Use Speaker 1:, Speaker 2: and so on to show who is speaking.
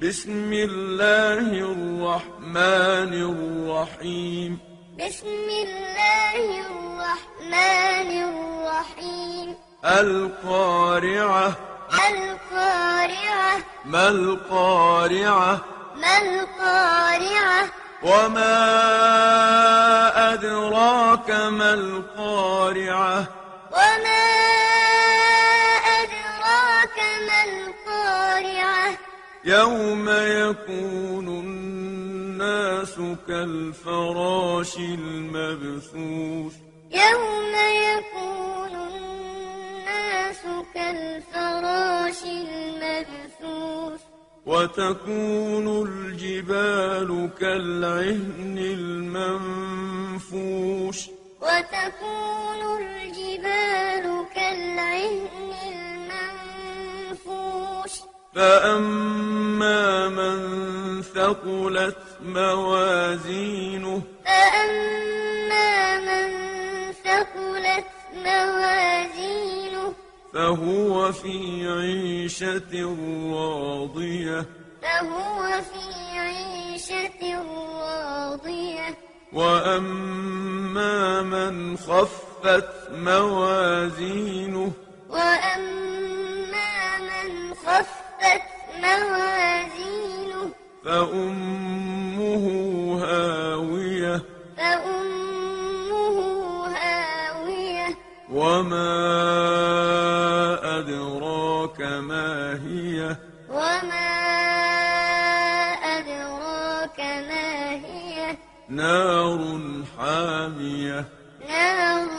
Speaker 1: بسم الله الرحمن الرحيم
Speaker 2: بسم الله الرحمن الرحيم
Speaker 1: القارعة
Speaker 2: القارعة
Speaker 1: ما القارعة
Speaker 2: ما القارعة وما
Speaker 1: أدراك ما القارعة
Speaker 2: وما أدراك ما القارعة
Speaker 1: يوم يكون الناس كالفراش المبثوث
Speaker 2: يوم يكون الناس كالفراش المبثوث
Speaker 1: وتكون الجبال كالعهن المنفوش
Speaker 2: وتكون الجبال كالعهن المنفوش
Speaker 1: فأما من ثقلت موازينه
Speaker 2: فأما من ثقلت موازينه
Speaker 1: فهو في عيشة راضية
Speaker 2: فهو في عيشة راضية
Speaker 1: وأما من خفت موازينه
Speaker 2: وأما من خفت موازينه
Speaker 1: فأمه هاوية
Speaker 2: فأمه هاوية
Speaker 1: وما أدراك ما هي
Speaker 2: وما أدراك ما هي
Speaker 1: نار حامية
Speaker 2: نار